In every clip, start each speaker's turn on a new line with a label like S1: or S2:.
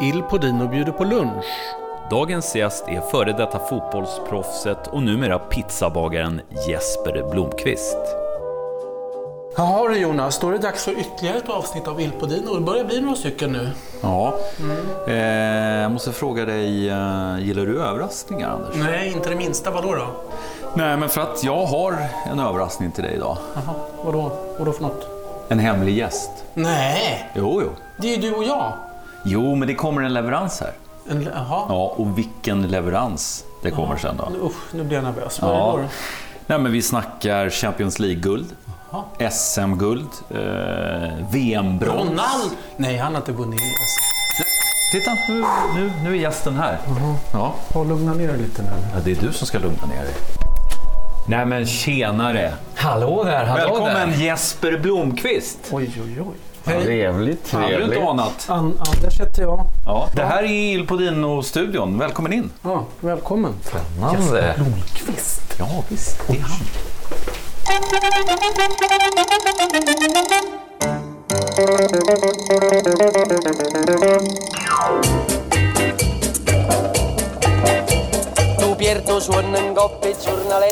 S1: Il Podino bjuder på lunch.
S2: Dagens gäst är före detta fotbollsproffset och numera pizzabagaren Jesper Blomqvist.
S1: Jaha du Jonas, då är det dags för ytterligare ett avsnitt av Il Podino. Det börjar bli några stycken nu.
S3: Ja. Eh, jag måste fråga dig, eh, gillar du överraskningar Anders?
S1: Nej, inte det minsta. Vadå då?
S3: Nej, men för att jag har en överraskning till dig idag.
S1: Jaha, vadå? Vadå för något?
S3: En hemlig gäst.
S1: Nej,
S3: Jo, jo.
S1: det är ju du och jag.
S3: Jo, men det kommer en leverans här.
S1: En, jaha.
S3: Ja, och vilken leverans det kommer sen då.
S1: Usch, nu blir jag nervös. Vad är
S3: Ja.
S1: det då?
S3: Nej, men vi snackar Champions League-guld, SM-guld, eh, VM-brons.
S1: Ronald! Nej, han har inte vunnit.
S3: Titta, nu, nu, nu är gästen här. Ja.
S1: Lugna ner dig lite nu.
S3: ja, det är du som ska lugna ner dig. Nej, men tjenare!
S4: Hallå där, hallå
S3: Välkommen
S4: där.
S3: Jesper Blomqvist!
S1: Oj, oj, oj.
S4: Trevligt,
S3: Hade du
S4: trevligt.
S3: inte anat?
S1: An- Anders heter jag.
S3: Ja. Det här är Il Podino-studion. Välkommen in!
S1: Ja, välkommen.
S4: Spännande.
S3: Ja, visst. Det är han.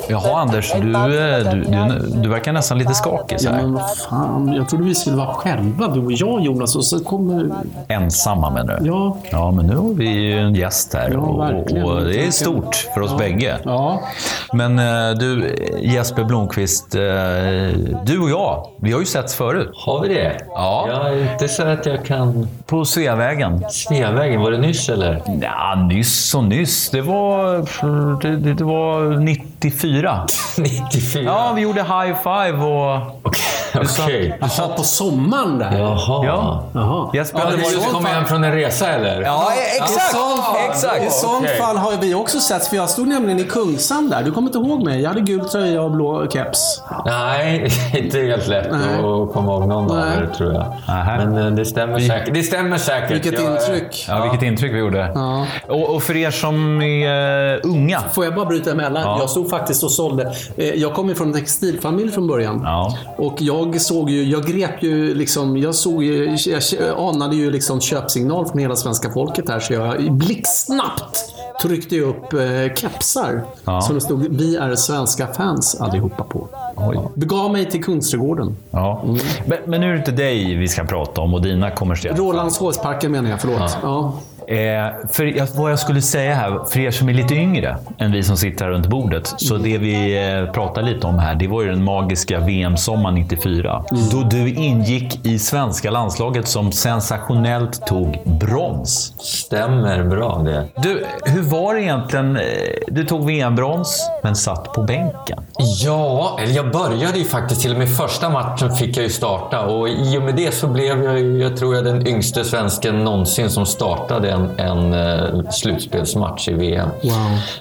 S4: Jaha Anders, du, eh, du, du, du verkar nästan lite skakig så
S5: Ja,
S4: här.
S5: men vad fan, jag trodde vi skulle vara själva, du och jag Jonas, och så kommer...
S4: Ensamma menar du?
S5: Ja,
S4: Ja, men nu har vi ju en gäst här
S5: Ja,
S4: och, och,
S5: verkligen.
S4: och det är stort för oss bägge.
S5: ja.
S4: Men eh, du eh, Jesper Blomqvist, eh, du och jag, vi har ju setts förut.
S6: Har vi det?
S4: Ja.
S6: Jag är inte så att jag kan...
S4: På Sveavägen.
S6: Sveavägen, var det nyss eller?
S4: Ja, nyss och nyss. Det var, det, det- det var 94.
S6: 94?
S4: Ja, vi gjorde high five och...
S6: Okej. okej.
S5: Jaha, på sommaren där?
S6: Jaha.
S4: Ja.
S5: Jaha.
S4: Jesper
S6: Hade
S4: hade
S6: du
S4: varit-
S6: just kommit hem från en resa eller?
S4: Ja, e- exakt!
S5: I
S4: exakt.
S5: sånt
S6: okej.
S5: fall har vi också sett, för jag stod nämligen i Kungsan där. Du kommer inte ihåg mig? Jag hade gul tröja och blå keps.
S6: Nej, inte helt lätt
S5: Nej.
S6: att komma ihåg någon av
S5: Nej.
S6: er tror jag.
S4: Nähä.
S6: Men eh, det stämmer säkert. Det stämmer säkert.
S5: Vilket
S6: Jag, eh,
S5: intryck.
S4: Ja, vilket intryck vi gjorde.
S5: Ja.
S4: Och, och för er som är eh, unga.
S5: Får jag bara bryta emellan? Jag stod faktiskt och sålde. eh, Jag kom ju från en textilfamilj från början.
S4: Ja.
S5: Och jag såg ju, jag grep ju liksom, jag såg ju, jag anade ju liksom köpsignal från hela svenska folket här. Så jag blixtsnabbt tryckte ju upp eh, kepsar.
S4: Ja.
S5: Som det stod “Vi är svenska fans” allihopa på.
S4: Oj.
S5: Begav mig till Kungsträdgården.
S4: Ja. Men, men nu är det inte dig vi ska prata om och dina kommersiella...
S5: Rålambshovsparken menar jag, förlåt. Ja. Ja.
S4: Eh, för jag, vad jag skulle säga här, för er som är lite yngre än vi som sitter här runt bordet. Så det vi eh, pratar lite om här, det var ju den magiska VM-sommaren 94. Då du ingick i svenska landslaget som sensationellt tog brons.
S6: Stämmer bra det.
S4: Du, hur var det egentligen? eh, Du tog VM-brons, men satt på bänken.
S6: Ja, eller jag började ju faktiskt. Till och med första matchen fick jag ju starta och i och med det så blev jag, ju- jag tror jag, den yngste svensken någonsin som startade en, en eh, slutspelsmatch i VM.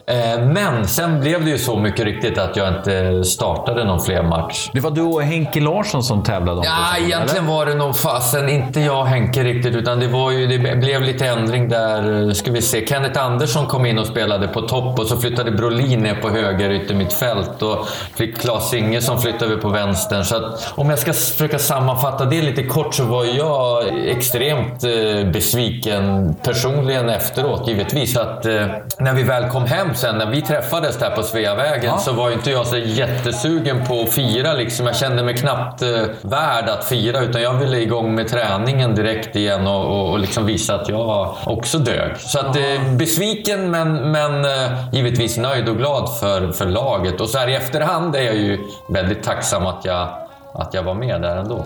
S6: Eh, Men sen blev det ju så mycket riktigt att jag inte startade någon fler match.
S4: Det var du och Henke Larsson som tävlade om det,
S6: Ja,
S4: tror jag,
S6: egentligen var det nog fasen inte jag och Henke riktigt, utan det, var ju, det blev lite ändring där. eh, Ska vi se. Kenneth Andersson kom in och spelade på topp och så flyttade Brolin ner på höger yttermittfält och fick Claes Ingesson flytta över på vänstern. Så att, om jag ska s- försöka sammanfatta det lite kort så var jag extremt eh, besviken personligen efteråt givetvis. Att, eh, när vi väl kom hem sen, när vi träffades där på Sveavägen, så var ju inte jag så jättesugen på att fira. Liksom. Jag kände mig knappt eh, värd att fira, utan jag ville igång med träningen direkt igen och, och, och liksom visa att jag också dög. Så att, eh, besviken, men, men eh, givetvis nöjd och glad för, för laget. Och så här i efterhand är jag ju väldigt tacksam att jag, att jag var med där ändå.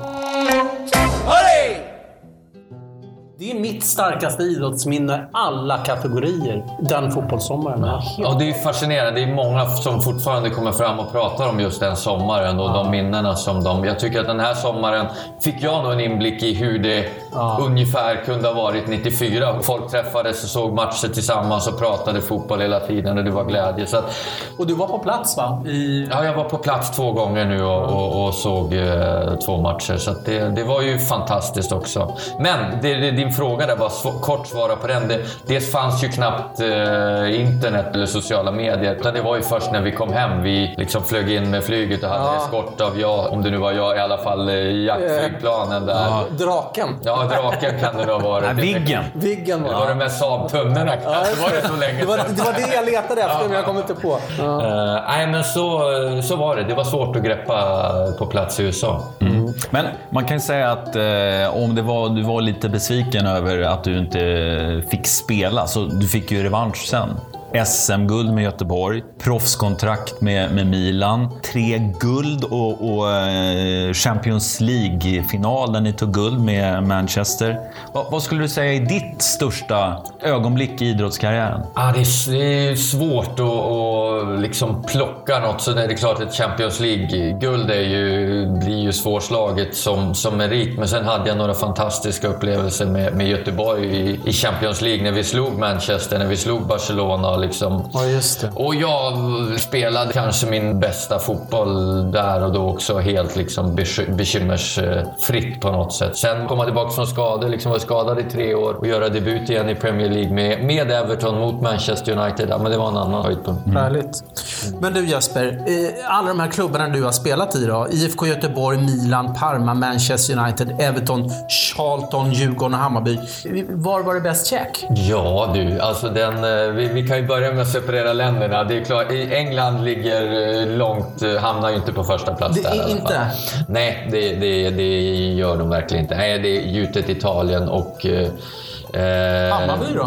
S5: Det är mitt starkaste idrottsminne, alla kategorier, den fotbollssommaren.
S6: Ja, det är ju fascinerande. Det är många som fortfarande kommer fram och pratar om just den sommaren och de minnena som de... Jag tycker att den här sommaren fick jag nog en inblick i hur det ungefär kunde ha varit 94. Folk träffades och såg matcher tillsammans och pratade fotboll hela tiden och det var glädje. Så att,
S5: Och du var på plats va? I...
S6: ja, jag var på plats två gånger nu och, och, och såg eh, två matcher, så att det, det var ju fantastiskt också. Men det, det, din fråga där, bara sv- kort svara på den. Det, det fanns ju knappt eh, internet eller sociala medier, utan det var ju först när vi kom hem. Vi liksom flög in med flyget och hade eskort av, jag, om det nu var jag, i alla fall eh, jaktflygplanen där.
S5: Draken.
S6: Ja, Ja, draken kan det nog ha varit.
S2: Nej, Viggen.
S7: Viggen
S6: Det
S7: var
S6: var
S7: det.
S6: det med Saab-tunnorna kanske. var det så länge
S7: Det var,
S6: sedan.
S7: det var det jag letade efter, men jag kom inte på. Ja.
S6: Eh, nej, men så, så var det. Det var svårt att greppa på plats i USA.
S4: Men man kan ju säga att eh, om det var, du var lite besviken över att du inte fick spela, så du fick ju revansch sen. SM-guld med Göteborg, proffskontrakt med, med Milan, tre guld och, och eh, Champions League-final där ni tog guld med Manchester. Va, vad skulle du säga är ditt största ögonblick i idrottskarriären?
S6: Ah, det, är, det är svårt att, att liksom plocka något. Så det är klart att Champions League-guld är ju, blir ju svårslaget som, som merit. Men sen hade jag några fantastiska upplevelser med, med Göteborg i, i Champions League. När vi slog Manchester, när vi slog Barcelona. Liksom.
S5: Ja, just det.
S6: Och jag spelade kanske min bästa fotboll där och då också helt liksom beky- bekymmersfritt på något sätt. Sen komma tillbaka från skador, liksom var skadad i tre år och göra debut igen i Premier League med, med Everton mot Manchester United. Ja, men det var en annan höjdpunkt.
S5: Härligt. Men du Jesper, eh, alla de här klubbarna du har spelat i då? IFK Göteborg, Milan, Parma, Manchester United, Everton, Charlton, Djurgården och Hammarby. Var var det bäst check?
S6: Ja du, alltså den, eh, vi, vi kan ju börja med att separera länderna. Det är klart, i England ligger eh, långt, eh, hamnar ju inte på första plats
S5: Det
S6: där i
S5: är
S6: alla fall.
S5: inte?
S6: Nej, det, det, det gör de verkligen inte. Nej, det är gjutet Italien och... eh, eh,
S5: Hammarby då?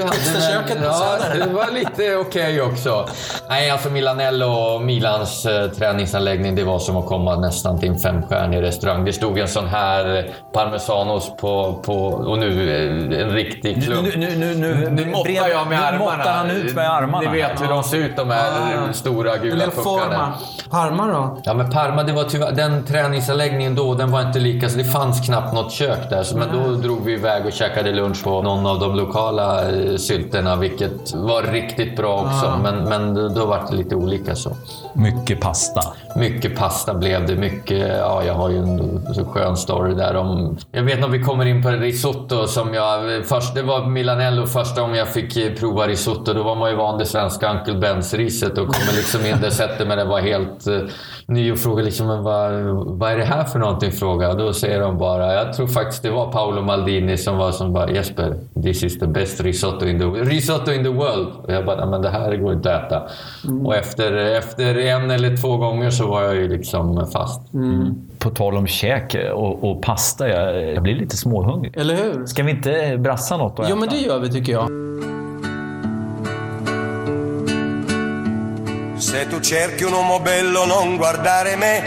S6: hade...
S5: Pizzaköket på
S6: ja,
S5: Söder.
S6: det var lite okej också. Nej, alltså Milanello och Milans eh, träningsanläggning, det var som att komma nästan till en femstjärnig restaurang. Det stod en sån här eh, parmesanos på... på och nu eh, en riktig klubb.
S4: nu, nu, nu,
S6: Nu måttar jag med
S4: Nu
S6: armarna.
S4: måttar han ut med armarna.
S6: Ni vet hur de ser ut, de här stora gula
S5: Ah. Eller
S6: puckarna.
S5: Forma? Parma då?
S6: Ja, men Parma, det var tyvärr, den träningsanläggningen då, den var inte lika... Så det fanns knappt något kök där. Så, men då drog vi iväg och käkade lunch på någon av de lokala eh, sylterna, vilket var riktigt bra också. Men, men då, då var det lite olika. så.
S4: Mycket pasta.
S6: Mycket pasta blev det. Mycket, ja, jag har ju en så skön story där om... Jag vet när vi kommer in på risotto som jag... Först, det var Milanello första gången jag fick eh, prova risotto. Då var man ju van det svenska Uncle Bens-riset och kommer liksom in där, sätter mig där, var helt eh, ny och frågar liksom, men vad, vad är det här för någonting? Frågar jag. Då säger de bara, jag tror faktiskt det var Paolo Maldini som var som bara, Jesper, this is the best risotto in the, risotto in the world. Och jag bara, "Nej, men det här går inte att äta.
S5: Mm.
S6: Och efter, efter en eller två gånger så var jag ju liksom fast.
S5: Mm.
S4: På tal om käk och, och pasta, jag, jag blir lite småhungrig.
S5: Eller hur?
S4: Ska vi inte brassa något?
S5: Jo, men det gör vi tycker jag.
S8: Se tu cerchi un uomo bello non guardare me,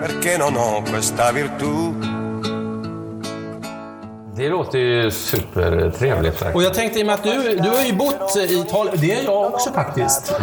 S8: perché non ho questa virtù.
S6: Det låter ju supertrevligt. verkligen.
S5: Och jag tänkte i och med att du, du har ju bott i Italien. Det är jag också faktiskt.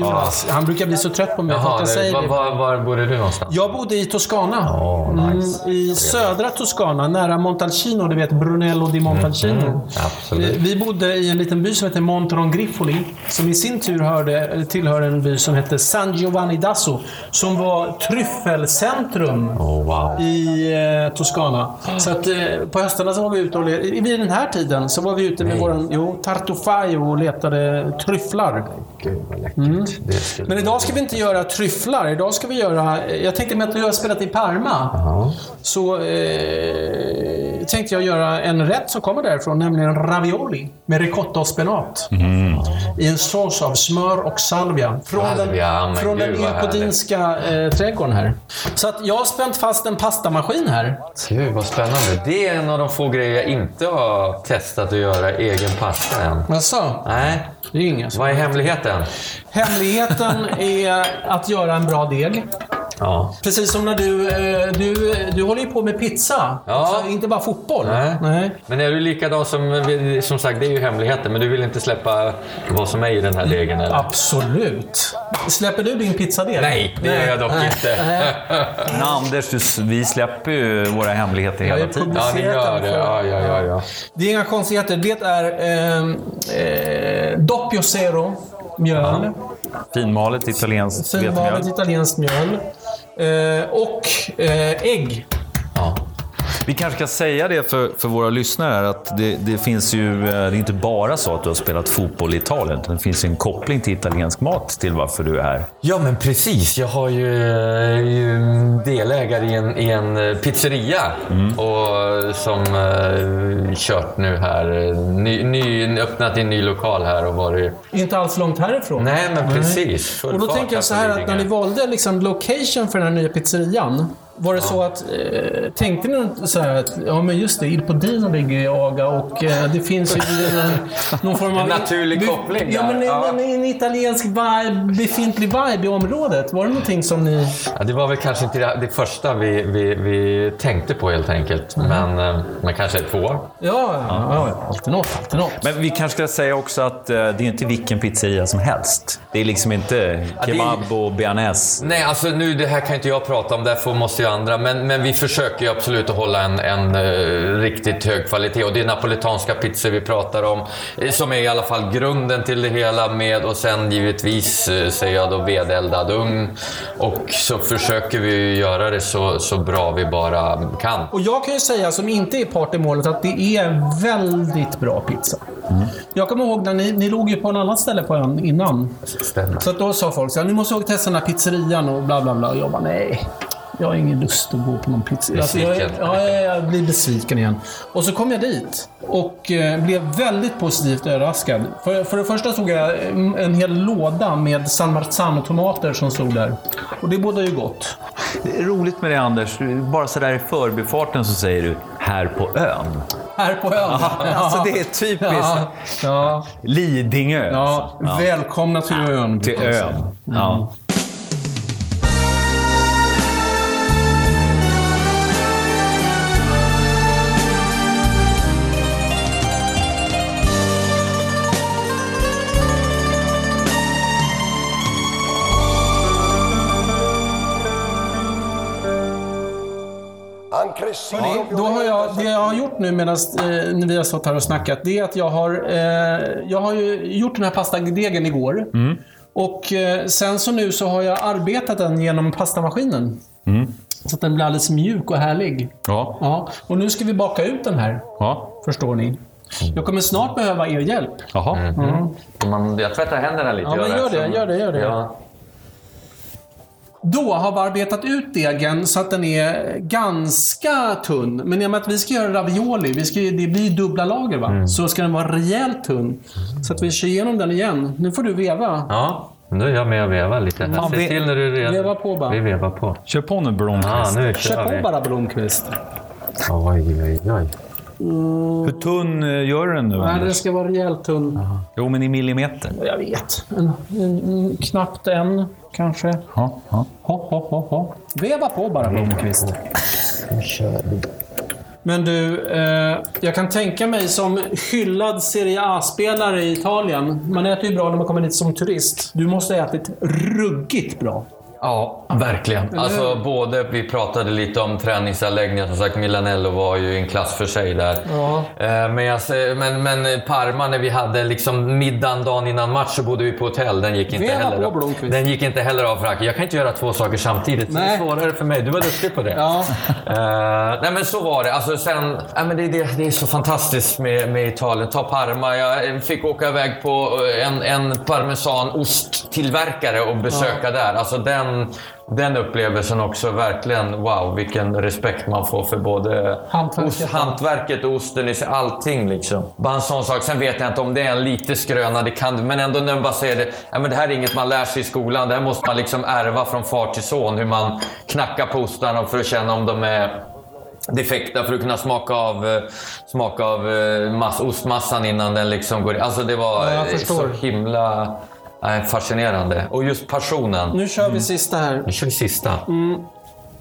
S5: Jonas. Han brukar bli så trött på mig.
S6: Jaha,
S5: Jaha, jag
S6: det,
S5: säger
S6: var,
S5: det.
S6: var, var bodde du någonstans?
S5: Jag bodde i Toscana.
S6: Åh, nice.
S5: Mm, I södra Toscana, nära Montalcino. Du vet Brunello di Montalcino.
S6: Mm, Absolut.
S5: Eh, Vi bodde i en liten by som hette Monteron Grifoli. Som i sin tur hörde, eller tillhör en by som hette San Giovanni d'Asso. Som var tryffelcentrum
S6: Oh, wow.
S5: i eh, Toscana.
S6: Mm.
S5: Så att eh, på höstarna så var vi ute och letade. Vid den här tiden så var vi ute med våran jo, tartofajo och letade tryfflar.
S6: Gud, vad läckert. Det skulle...
S5: Men idag ska vi inte göra tryfflar. Idag ska vi göra... eh, Jag tänkte med att du har spelat i Parma.
S6: Ja.
S5: Så eh, tänkte jag göra en rätt som kommer därifrån, nämligen ravioli med ricotta och spenat.
S6: Mm.
S5: I en sås av smör och salvia. Från
S6: Salvia,
S5: den,
S6: men
S5: från den
S6: gud, vad
S5: ilpodinska eh, trädgården här. Så att jag har spänt fast en pastamaskin här.
S6: Gud, vad spännande. Det är en av de få grejer jag inte har testat att göra egen pasta än.
S5: Jaså?
S6: Nej,
S5: Det är inga
S6: vad är hemligheten?
S5: Hemligheten är att göra en bra deg.
S6: Ja.
S5: Precis som när du, eh, du, du håller ju på med pizza.
S6: Ja.
S5: Alltså, inte bara fotboll.
S6: Nej. Men är du likadan som... Som sagt, det är ju hemligheten, men du vill inte släppa vad som är i den här degen? Eller?
S5: Absolut. Släpper du din pizzadeg?
S6: Nej, det gör jag dock inte.
S4: Men Anders, du, vi släpper ju våra hemligheter
S5: Jag
S4: hela
S5: är
S4: tiden.
S5: publicerad
S6: Ja, ni gör det.
S5: för-
S6: Ja, ja, ja, ja.
S5: Det är inga konstigheter. Det är eh, eh, doppio zero mjöl.
S4: Finmalet italienskt vetemjöl.
S5: Finvalet italienskt mjöl. Eh, och eh, ägg.
S6: Ja.
S3: Vi kanske ska säga det för, för våra lyssnare här, att det, det finns ju... eh, Det är inte bara så att du har spelat fotboll i Italien, utan det finns ju en koppling till italiensk mat till varför du är här.
S6: Ja, men precis. Jag har ju, är ju delägare i en, i en pizzeria och, som eh, kört nu här. Ny, ny, öppnat i en ny lokal här och varit...
S5: Inte alls långt härifrån.
S6: Nej, men precis. Full
S5: Och då
S6: fart alltså,
S5: tänker jag så här
S6: på
S5: att när ni
S6: Lidingö.
S5: valde liksom location för den här nya pizzerian. Var det så att, eh, tänkte ni inte så här att, ja men just det, Il Podino ligger i Aga och eh, det finns ju en, någon form av...
S6: En naturlig
S5: vi-
S6: koppling
S5: Ja,
S6: där.
S5: men en,
S6: Ja.
S5: en, en italiensk vibe, befintlig vibe i området. Var det någonting som ni...
S6: Ja, det var väl kanske inte det, det första vi, vi, vi tänkte på helt enkelt. Men, eh, men kanske två.
S5: Ja, ja, ja alltid något, alltid något.
S3: Men vi kanske ska säga också att eh, det är inte vilken pizzeria som helst. Det är liksom inte
S6: det är-
S3: kebab och bearnaise.
S6: Nej, alltså nu, det här kan inte jag prata om, därför måste ju andra. Men, men vi försöker ju absolut att hålla en, en eh, riktigt hög kvalitet. Och det är napolitanska pizzor vi pratar om, eh, som är i alla fall grunden till det hela med. Och sen givetvis, eh, säger jag då, vedeldad ugn. Och så försöker vi ju göra det så, så bra vi bara kan.
S5: Och jag kan ju säga, som inte är part i målet, att det är en väldigt bra pizza.
S6: Mm.
S5: Jag kommer ihåg när ni, ni låg ju på en annan ställe på ön innan.
S6: Stämmer.
S5: Så att då sa folk så här, ni måste åka och testa den här pizzerian och bla bla bla. Och jag bara, nej. Jag har ingen lust att gå på någon pizzeria. Alltså, jag,
S6: Besviken.
S5: ja, jag, jag blir besviken igen. Och så kom jag dit och eh, blev väldigt positivt överraskad. För, för det första såg jag mm, en hel låda med San Marzano-tomater som stod där. Och det bådar ju gott.
S4: Det är roligt med det Anders. Bara sådär i förbifarten så säger du “här på ön”.
S5: Här på ön.
S4: Alltså det är typiskt.
S5: Ja, ja,
S4: Lidingö.
S5: ja.
S4: alltså.
S5: Välkomna till ön.
S4: Till
S5: brukar jag säga.
S4: ön.
S3: Mm.
S4: Ja.
S8: Anche sì.
S5: Ja, då har jag, det jag har gjort nu medan eh, vi har stått här och snackat, det är att jag har, eh, jag har ju gjort den här pastadegen igår. Och eh, sen så nu så har jag arbetat den genom pastamaskinen. Så att den blir alldeles mjuk och härlig.
S4: Ja.
S5: Ja, och nu ska vi baka ut den här,
S4: ja.
S5: förstår ni. Jag kommer snart behöva er hjälp.
S4: Jaha.
S6: Man, jag tvättar händerna lite.
S5: Ja, men gör det, gör det, gör det.
S6: Ja.
S5: Då har vi arbetat ut degen så att den är ganska tunn. Men i och med att vi ska göra ravioli, vi ska, ju- det blir dubbla lager, va?
S6: Mm.
S5: så ska den vara rejält tunn. Så att vi kör igenom den igen. Nu får du veva.
S6: ja, nu är jag med och vevar lite. här. Se
S4: vi-
S6: till när du är redo.
S5: Veva på bara.
S6: Vi vevar på.
S4: Kör på nu Blomqvist.
S6: Ja, nu
S5: Kör
S6: kör
S5: på
S6: vi.
S5: bara Blomqvist.
S6: Oj, oj, oj.
S4: Hur tunn eh, gör du den nu
S5: Nej, den
S4: Anders?
S5: ska vara rejält tunn.
S4: Jo, men i millimeter.
S5: Jag vet. En, en, en, knappt en, kanske.
S4: Ja, ja.
S5: Ho, ho, ho, ho. Veva på bara
S6: Mm.
S5: Blomqvist. Men du, eh, jag kan tänka mig som hyllad Serie A-spelare i Italien. Man äter ju bra när man kommer dit som turist. Du måste ha ätit ruggigt bra.
S6: Ja, verkligen. Alltså, både, vi pratade lite om träningsanläggningar. Som sagt, Milanello var ju en klass för sig där.
S5: Ja.
S6: Eh, Men, jag, ser- men, men Parma, när vi hade liksom middagen dagen innan match så bodde vi på hotell. Den gick inte,
S5: Veva
S6: heller
S5: på,
S6: av,
S5: Blomqvist.
S6: den gick inte heller av för Aki. Jag kan inte göra två saker samtidigt. Det är
S5: Nej.
S6: svårare för mig. Du var duktig på det.
S5: Ja.
S6: Eh, nej men så var det. Alltså sen, nej men det, det, det är så fantastiskt med, med Italien. Ta Parma. Jag eh, fick åka iväg på eh, en, en parmesanosttillverkare och besöka där. Alltså den, den upplevelsen också. Verkligen wow, vilken respekt man får för både
S5: Hantverket.
S6: ost, hantverket och osten. i sig, Allting liksom. Bara en sån sak. Sen vet jag inte om det är en lite skröna, det kan det- Men ändå när man bara säger det. Ja, men det här är inget man lär sig i skolan. Det här måste man liksom ärva från far till son. Hur man knackar på ostarna för att känna om de är defekta för att kunna smaka av, eh, smaka av eh, mass, ostmassan innan den liksom går i. Alltså det var
S5: Ja, jag
S6: eh, så
S5: förstår.
S6: himla eh, fascinerande. Och just passionen.
S5: Nu Mm. kör vi sista här.
S6: Nu kör vi sista.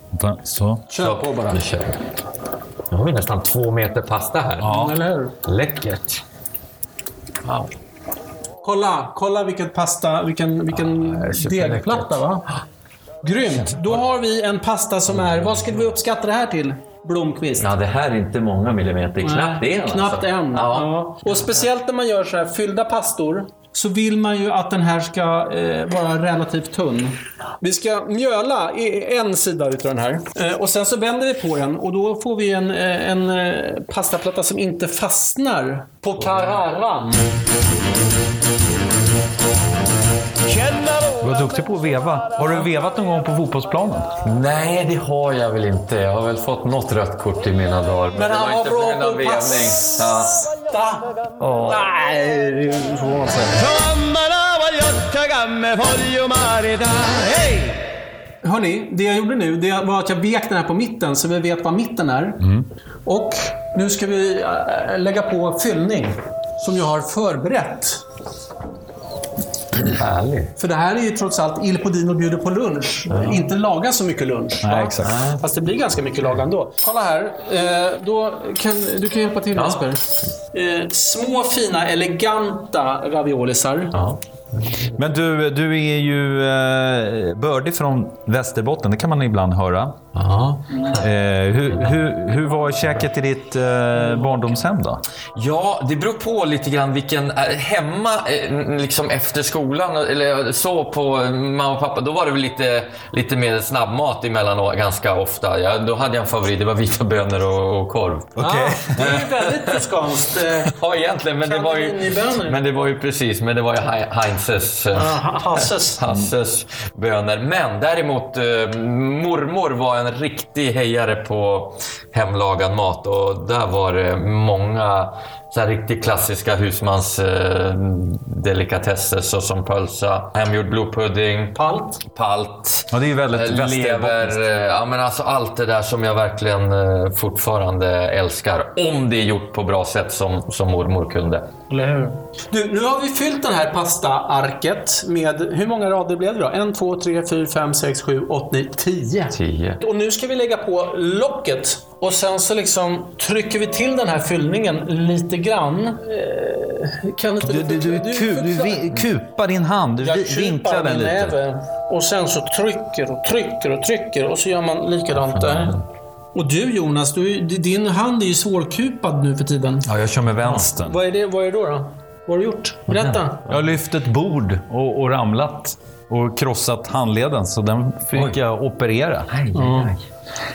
S4: Vänta, Så.
S5: Kör på bara.
S6: Nu kör vi. Nu har vi nästan två meter pasta här.
S5: Ja. Eller hur?
S6: Läckert.
S5: Kolla, kolla vilken pasta, vilken, vilken
S6: superläckert.
S5: degplatta va? Grymt! Då har vi en pasta som är, vad skulle vi uppskatta det här till? Blomqvist.
S6: Ja, det här är inte många millimeter. Knappt
S5: Nej,
S6: en
S5: Knappt
S6: alltså.
S5: en.
S6: Ja.
S5: Ja. Och speciellt när man gör så här fyllda pastor så vill man ju att den här ska eh, vara relativt tunn. Vi ska mjöla i- en sida utav den här. Eh, och sen så vänder vi på den och då får vi en, eh, en eh, pastaplatta som inte fastnar på carraran.
S4: Du var duktig på att veva. Har du vevat någon gång på fotbollsplanen?
S6: Nej, det har jag väl inte. Jag har väl fått något rött kort i mina dagar. Men, det var inte på grund av vevning. Ja.
S5: Nej, det är- får man säga. Hörni, det jag gjorde nu det var att jag vek den här på mitten så vi vet var mitten är.
S6: Mm.
S5: Och nu ska vi äh, lägga på fyllning som jag har förberett.
S6: Härligt.
S5: För det här är ju trots allt Il Podino bjuder på lunch. Inte laga så mycket lunch. va? Fast det blir ganska mycket lag ändå. Kolla här. Eh, då kan, du kan hjälpa till Jesper. Eh, små fina eleganta raviolisar.
S3: Men du, du är ju eh, bördig från Västerbotten, det kan man ibland höra.
S6: Ja.
S3: Eh, hur, hur, hur var käket i ditt eh, barndomshem då?
S6: Ja, det beror på lite grann vilken... eh, Hemma, eh, liksom efter skolan eller så på eh, mamma och pappa, då var det väl lite, lite mer snabbmat emellanåt ganska ofta. Ja, då hade jag en favorit, det var vita bönor och, och korv.
S5: Det är ju väldigt skånskt. Eh,
S6: Ja, egentligen, men det var ju...
S5: Kandelinibönor.
S6: Men det var ju precis, men det var ju Hei- Heinzes... eh,
S5: ha- Hasses.
S6: Hasses böner. Men däremot, eh, mormor var en riktig hejare på hemlagad mat och där var det många så här riktigt klassiska husmansdelikatesser såsom pölsa, hemgjord blodpudding, palt, palt
S3: Ja, det är ju väldigt
S6: eh,
S3: västerbottniskt.
S6: lever, eh, ja, men alltså allt det där som jag verkligen eh, fortfarande älskar. Om det är gjort på bra sätt som, som mormor kunde.
S5: Du, nu har vi fyllt den här pastaarket med, hur många rader blev det då? En, två, tre, fyra, fem, sex, sju, åtta, nio, tio.
S6: 10.
S5: Och nu ska vi lägga på locket och sen så liksom trycker vi till den här fyllningen lite grann. Eh, Kan inte
S3: Du, du, du,
S5: förklara-
S3: ku, du
S5: förklara-
S3: vi, kupar din hand, du
S5: jag
S3: vi, vinklar
S5: kupar
S3: den
S5: min
S3: lite.
S5: näve och sen så trycker och trycker och trycker och så gör man likadant där. Och du Jonas, du, din hand är ju svårkupad nu för tiden.
S3: Ja, jag kör med vänstern.
S5: Vad är det, vad är det då, då? Vad har du gjort? Berätta.
S3: Jag har lyft ett bord och, och ramlat och krossat handleden, så den fick jag operera. Mm.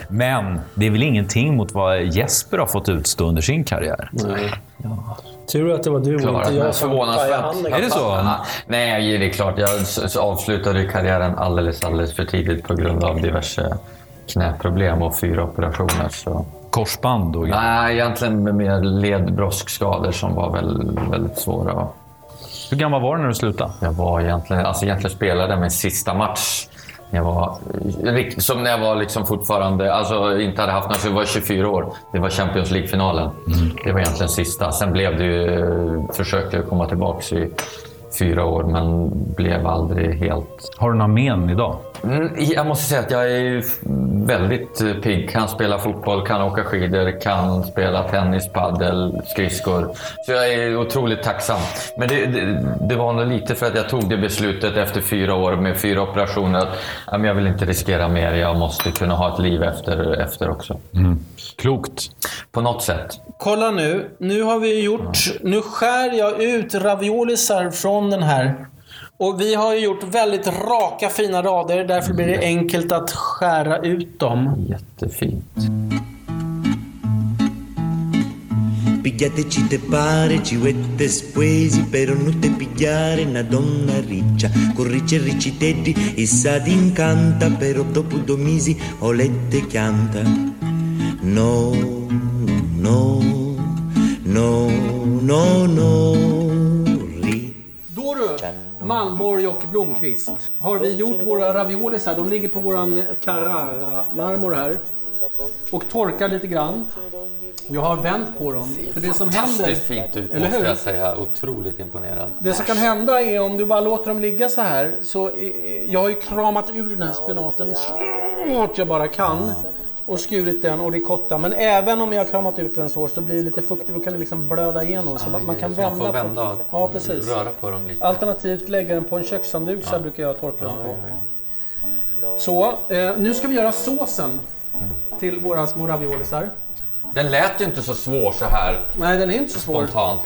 S3: Men det är väl ingenting mot vad Jesper har fått utstå under sin karriär?
S5: Tur att det var du och
S6: Klarat
S5: inte
S6: mig
S5: jag som hoppade i
S6: förvånansvärt.
S5: handen.
S3: Är det så?
S6: Ja, Nej, det är klart. Jag s- s- avslutade ju karriären alldeles, alldeles för tidigt på grund av diverse knäproblem och fyra operationer. Så.
S3: Korsband och grejer.
S6: Nej, egentligen med mer ledbroskskador som var väl, väldigt svåra.
S3: Hur gammal var du när du slutade?
S6: Jag var egentligen, alltså egentligen spelade jag min sista match. Jag var, rikt- som när jag var liksom fortfarande, alltså inte hade haft någon, så jag var 24 år. Det var Champions League-finalen. Det var egentligen sista. Sen blev det ju, försökte jag komma tillbaka i fyra år, men blev aldrig helt...
S3: Har du några men idag?
S6: Mm, Jag måste säga att jag är ju väldigt eh, pigg. Kan spela fotboll, kan åka skidor, kan spela tennis, padel, skridskor. Så jag är otroligt tacksam. Men det, det, det var nog lite för att jag tog det beslutet efter fyra år med fyra operationer att ja, men jag vill inte riskera mer. Jag måste kunna ha ett liv efter, efter också. Mm.
S3: Klokt.
S6: På något sätt.
S5: Kolla nu. Nu har vi gjort... Nu skär jag ut raviolisar från den här. Och vi har ju gjort väldigt raka fina rader. Därför blir det enkelt att skära ut dem.
S6: Jättefint.
S9: Pigliate ci te pare, ci vette spesi per non te pigliare una donna riccia. Con ricci e ricci tetti e sa d'incanta, però dopo due mesi olette canta. No, no, no, no, no, ri.
S5: Då du, Malmborg och Blomqvist. Har vi gjort våra raviolisar. De ligger på våran Carrara-marmor här. Och torkar lite grann. Jag har vänt på dem. För det som händer...
S6: Fantastiskt fint ut,
S5: Eller
S6: måste
S5: hur?
S6: jag säga. Otroligt imponerad.
S5: Det som kan hända är om du bara låter dem ligga så här. Så eh, jag har ju kramat ur den här spenaten så hårt jag bara kan. Och skurit den och ricotta. Men även om jag har kramat ut den så hårt så blir det lite fuktigt. Då kan det liksom blöda igenom. Så man kan
S6: Man
S5: vända,
S6: får vända
S5: på Ja, precis.
S6: röra på dem lite.
S5: Alternativt lägga den på en kökshandduk så här brukar jag torka den på. Så, eh, nu ska vi göra såsen. till våra små raviolisar.
S6: Den lät ju inte så svår så här
S5: Nej, den är inte så svår.
S6: spontant.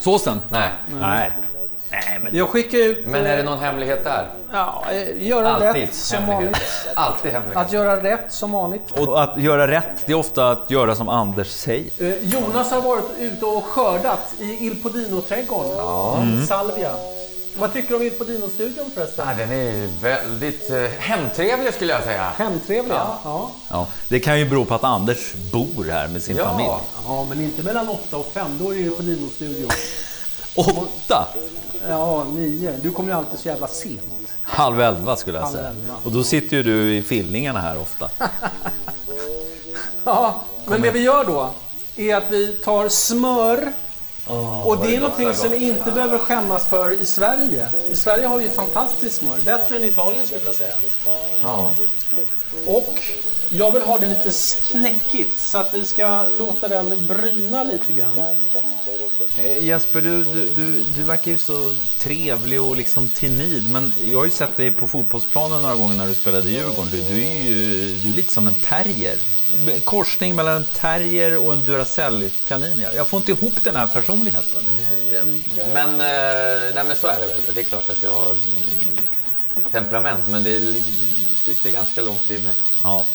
S2: Såsen?
S6: Nej,
S2: Nej.
S5: Jag skickar ut...
S6: men är det någon hemlighet där?
S5: Ja, eh, göra
S6: Alltid
S5: rätt som vanligt.
S6: hemlighet. Alltid hemlighet.
S5: Att göra rätt som vanligt.
S2: Och att göra rätt, det är ofta att göra som Anders säger.
S5: Eh, Jonas har varit ute och skördat i Il Podino-trädgården. Mm. Salvia. Vad tycker du om Il Podino-studion förresten?
S6: Ja, den är ju väldigt eh, hemtrevlig skulle jag säga.
S5: Hemtrevliga. Ja. Ja.
S2: Ja, det kan ju bero på att Anders bor här med sin familj.
S6: Ja,
S5: men inte mellan 8 och 5. Då är det Il Podino-studion.
S2: Åtta!
S5: Ja, 9. Du kommer ju alltid så jävla sent.
S2: Halv elva skulle jag säga.
S5: elva.
S2: Och då sitter ju du i filningarna här ofta.
S5: Ja, men det vi gör då är att vi tar smör och det är någonting som vi inte behöver skämmas för i Sverige. I Sverige har vi fantastiskt smör. Bättre än i Italien skulle jag vilja säga. Och jag vill ha det lite knäckigt så att vi ska låta den bryna lite grann.
S4: Eh, Jesper, du, du, du, du verkar ju så trevlig och liksom timid, men jag har ju sett dig på fotbollsplanen några gånger när du spelade i Djurgården. Du, du är ju du är lite som en terrier. En Korsning mellan en terrier och en Duracell-kanin. Jag- Jag får inte ihop den här personligheten.
S6: Men, eh, nej, men så är det väl. Det är klart att jag har mm, temperament, men det li- sitter ganska långt inne.
S4: Ja.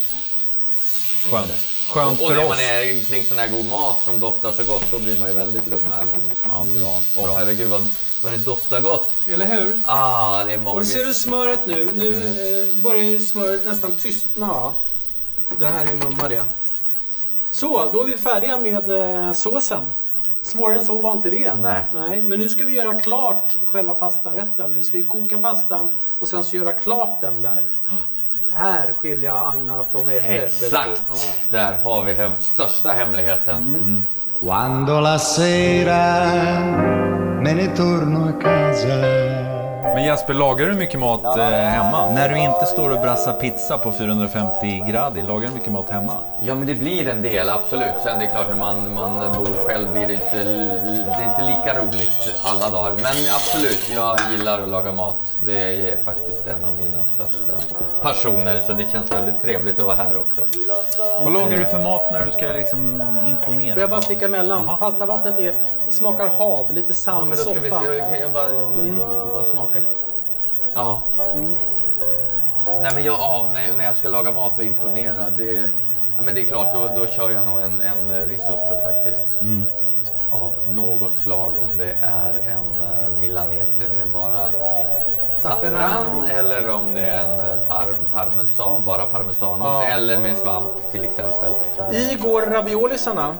S4: Skönt. Skönt
S6: Och när
S4: för oss.
S6: man är kring sån här god mat som doftar så gott, då blir man ju väldigt lugn och harmonisk.
S4: Ja, bra.
S6: Åh herregud vad, vad det doftar gott.
S5: Eller hur?
S6: Ah, det är
S5: Och ser
S6: magiskt.
S5: du smöret nu? Nu
S6: Mm.
S5: eh, börjar ju smöret nästan tystna. va? Det här är mumma det. Så, då är vi färdiga med eh, såsen. Svårare än så var inte det.
S6: Nej.
S5: Nej. Men nu ska vi göra klart själva pastarätten. Vi ska ju koka pastan och sen så göra klart den där. Här skiljer jag agnar från vete.
S6: Exakt! Där har vi hem, största hemligheten.
S4: Mm.
S10: Quando la sera me ne torno a casa.
S3: Men Jesper, lagar du mycket mat eh, hemma? När du inte står och brassar pizza på 450 grader, lagar du mycket mat hemma?
S6: Ja, men det blir en del, absolut. Sen det är klart, när man, man bor själv blir det inte, det är inte lika roligt alla dagar. Men absolut, jag gillar att laga mat. Det är faktiskt en av mina största passioner, så det känns väldigt trevligt att vara här också.
S3: Vad lagar du för mat när du ska liksom imponera?
S5: Får jag bara sticka emellan? Pastavattnet är, smakar hav, lite
S6: Ja,
S5: salt
S6: men då ska
S5: soppa.
S6: vi, jag, kan jag bara, Vad smakar det? Ja. Nej, men jag, ja, när, när jag ska laga mat och imponera, det, ja, men det är klart, då, då kör jag nog en, en risotto faktiskt. Av något slag, om det är en eh, milanese med bara
S5: Zafferano.
S6: safran eller om det är en eh, par, parmesan, bara parmesanost, eller med svamp till exempel.
S5: I går raviolisarna.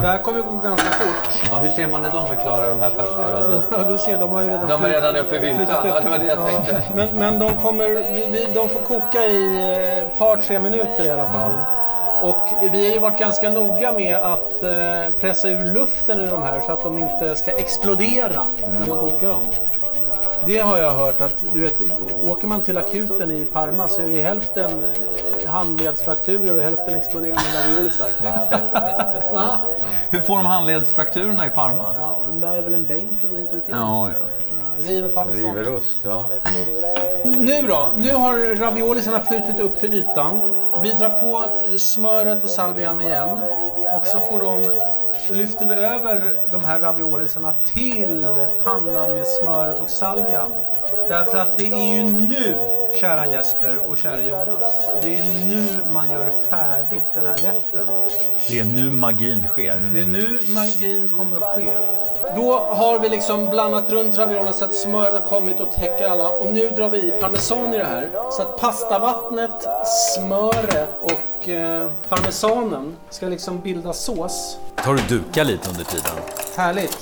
S5: Det här kommer gå ganska fort.
S6: Ja, hur ser man när de är klara, de här färska? då?
S5: Ja, du ser, de har ju redan...
S6: De är redan uppe i
S5: flyttat
S6: viltan,
S5: upp.
S6: ja, det var det jag tänkte.
S5: Men, men de kommer... vi- vi- De får koka i eh, ett par, tre minuter i alla fall. Och vi har ju varit ganska noga med att eh, pressa ur luften ur de här så att de inte ska explodera när man kokar dem. Det har jag hört att, du vet, åker man till akuten i Parma så är det ju hälften eh, handledsfrakturer och hälften exploderande raviolisar. Va?
S3: Hur får de handledsfrakturerna i Parma?
S5: Ja, den där är väl en bänk eller inte vet jag.
S3: Ja, ja.
S5: River parmesan.
S6: Riverost, ja.
S5: Nu då? Nu har raviolisarna flutit upp till ytan. Vi drar på smöret och salvian igen. Och så får de, lyfter vi över de här raviolisarna till pannan med smöret och salvian. Därför att det är ju nu, kära Jesper och kära Jonas, det är nu man gör färdigt den här rätten.
S3: Det är nu magin sker.
S5: Det är nu magin kommer att ske. Då har vi liksom blandat runt raviolerna så att smöret har kommit och täcker alla. Och nu drar vi i parmesan i det här. Så att pastavattnet, smöret och eh, parmesanen ska liksom bilda sås.
S2: Tar du duka lite under tiden?
S5: Härligt.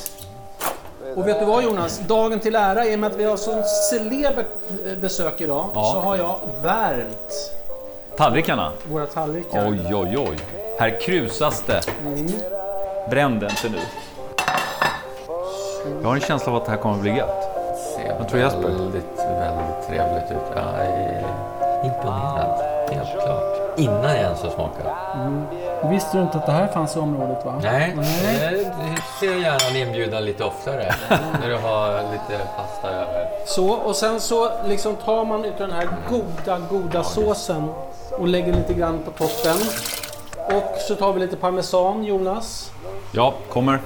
S5: Och vet du vad Jonas? Dagen till ära, i och med att vi har så celebert eh, besök idag, så har jag värmt
S2: Tallrikarna?
S5: våra tallrikar.
S2: Oj, oj, oj. Här krusas det. Bränn det inte nu.
S3: Jag har en känsla av att det här kommer bli gött.
S6: ser
S3: tror Jesper?
S6: väldigt, väldigt trevligt ut. Jag är imponerad, helt klart. innan jag ens har smakat.
S5: Mm. Visste du inte att det här fanns i området va?
S6: Nej, jag Eh, ser gärna en inbjudan lite oftare. när du har lite pasta över.
S5: Så, och sen så liksom tar man ut den här goda, goda såsen och lägger lite grann på toppen. Och så tar vi lite parmesan, Jonas.
S11: Ja, kommer.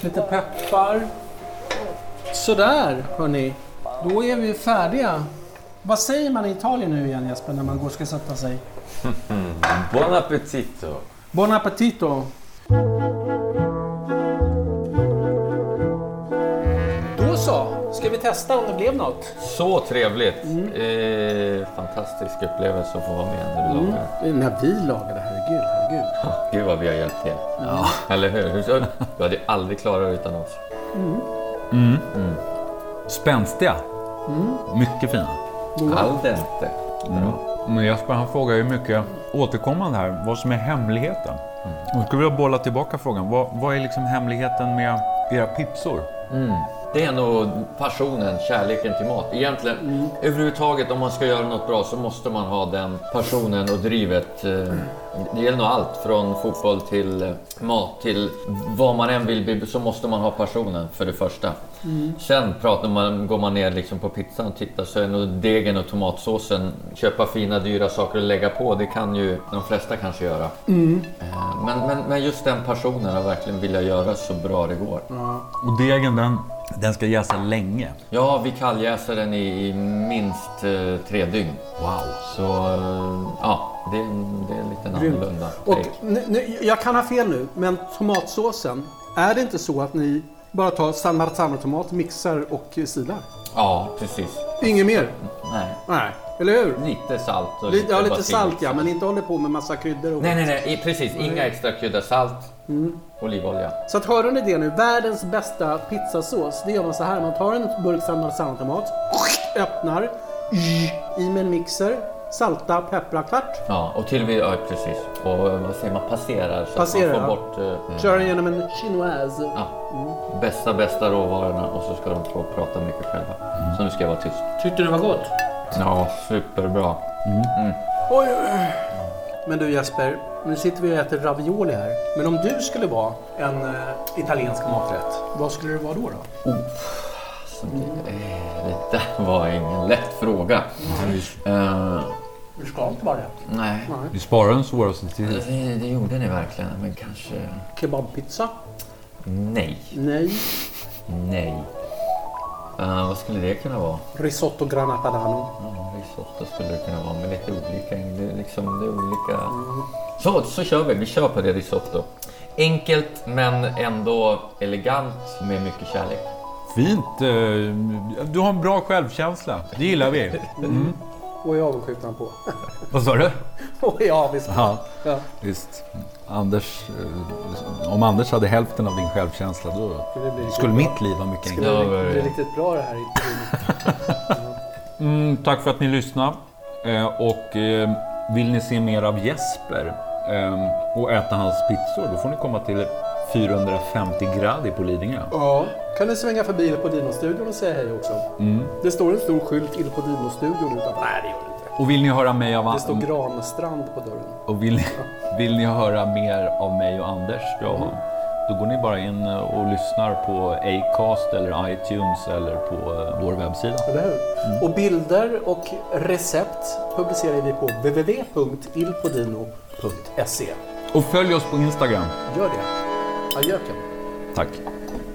S5: Lite peppar. Sådär, hörni. Då är vi färdiga. Vad säger man i Italien nu igen Jesper, när man går och ska sätta sig?
S6: Buon appetito!
S5: Buon appetito! Då så, ska vi testa om det blev något?
S6: Så trevligt! Eh, fantastisk upplevelse att få vara med när du
S3: Mm.
S6: lagar.
S5: När vi lagade, herregud, herregud.
S6: Gud vad vi har hjälpt till. Eller hur? Hur- Du hade ju aldrig klarat det utan oss.
S11: Mm. Spänstiga.
S3: Mm.
S11: Mycket fina.
S6: Al dente.
S3: Men Jesper han frågar ju mycket återkommande här vad som är hemligheten. Jag skulle vilja bolla tillbaka frågan. Vad, vad är liksom hemligheten med era pizzor?
S6: Det är nog passionen, kärleken till mat. Egentligen, överhuvudtaget om man ska göra något bra så måste man ha den passionen och drivet. eh, Det gäller nog allt, från fotboll till eh, mat till vad man än vill bli, så måste man ha passionen för det första. Sen pratar man, går man ner liksom på pizzan och tittar så är nog degen och tomatsåsen, köpa fina dyra saker och lägga på, det kan ju de flesta kanske göra. Eh, Men, men, men just den passionen att verkligen vilja göra så bra det går.
S3: Och degen den, den ska jäsa länge.
S6: Ja, vi kalljäser den i, i minst eh, tre dygn. Wow! Så eh, ja, det, är en- det är lite en annorlunda
S5: Och
S6: take.
S5: nu, nu, jag kan ha fel nu, men tomatsåsen, är det inte så att ni bara tar San Marzano-tomat, mixar och silar?
S6: Ja, precis.
S5: Inget mer?
S6: Nej.
S5: Nej, eller hur?
S6: Lite salt och
S5: Lite, ja, lite
S6: basil.
S5: salt ja, men Mm. inte håller på med massa kryddor. Och...
S6: Nej, nej, nej, i- precis. Inga extra kryddor. Salt,
S5: Mm.
S6: olivolja.
S5: Så att hörde ni det nu? Världens bästa pizzasås, det gör man så här. Man tar en burk San Marzano-tomat, öppnar, i med en mixer, salta, peppra, klart.
S6: Ja, och till och med, ja, precis. Och eh, vad säger man, passerar så
S5: Passerar,
S6: att man
S5: ja. Mm.
S6: får bort eh,
S5: Kör den genom en chinoise.
S6: ja, bästa, bästa råvarorna och så ska de få prata mycket själva. Så nu ska jag vara tyst.
S5: Tyckte du det var gott?
S6: Ja, superbra.
S5: Oj, oj, oj. Men du Jesper, nu sitter vi och äter ravioli här. Men om du skulle vara en eh, italiensk maträtt, vad skulle det vara då? då?
S6: Så det, eh, det där var ingen lätt fråga. Eh,
S5: Du ska inte vara det.
S6: nej,
S3: Vi sparar den svåraste till
S6: det, det gjorde ni verkligen. Men kanske...
S5: Kebabpizza?
S6: Nej,
S5: Nej.
S6: nej. Eh, vad skulle det kunna vara?
S5: Risotto grana padano?
S6: Ja, risotto skulle det kunna vara, men lite olika. Det är, liksom, det är olika. Så, så kör vi. Vi kör på det risotto. Enkelt, men ändå elegant med mycket kärlek.
S3: Fint. eh, Du har en bra självkänsla. Det gillar vi.
S5: Och är avundsjuk på.
S3: Vad sa du?
S5: Och är avis på.
S3: Ja,
S5: Ja.
S3: visst. Anders, eh, om Anders hade hälften av din självkänsla då
S5: Skulle det bli riktigt
S3: skulle
S5: bra.
S3: mitt liv vara mycket enklare.
S5: Det
S6: Ja,
S5: är
S6: vad är
S5: riktigt- det är
S6: det?
S5: riktigt bra det här intervjun.
S3: Mm, tack för att ni lyssnade. Eh, och eh, vill ni se mer av Jesper eh, och äta hans pizzor, då får ni komma till 450 Gradi på Lidingö.
S5: Ja. Kan du svänga förbi Il Podino-studion och säga hej också?
S6: Mm.
S5: Det står en stor skylt Il Podino-studion utanför. Nej, det gör det inte.
S3: Och vill ni höra mig av
S5: Det står
S6: mm.
S3: Anders?
S5: Granstrand på dörren.
S3: Och vill ni, vill ni höra mer av mig och Anders? Ja.
S5: Mm.
S3: Då går ni bara in eh, och lyssnar på Acast eller iTunes eller på eh, vår webbsida.
S5: Eller hur? Och bilder och recept publicerar vi på www.ilpodino.se.
S3: Och följ oss på Instagram.
S5: Gör det. Adjöken.
S3: Tack.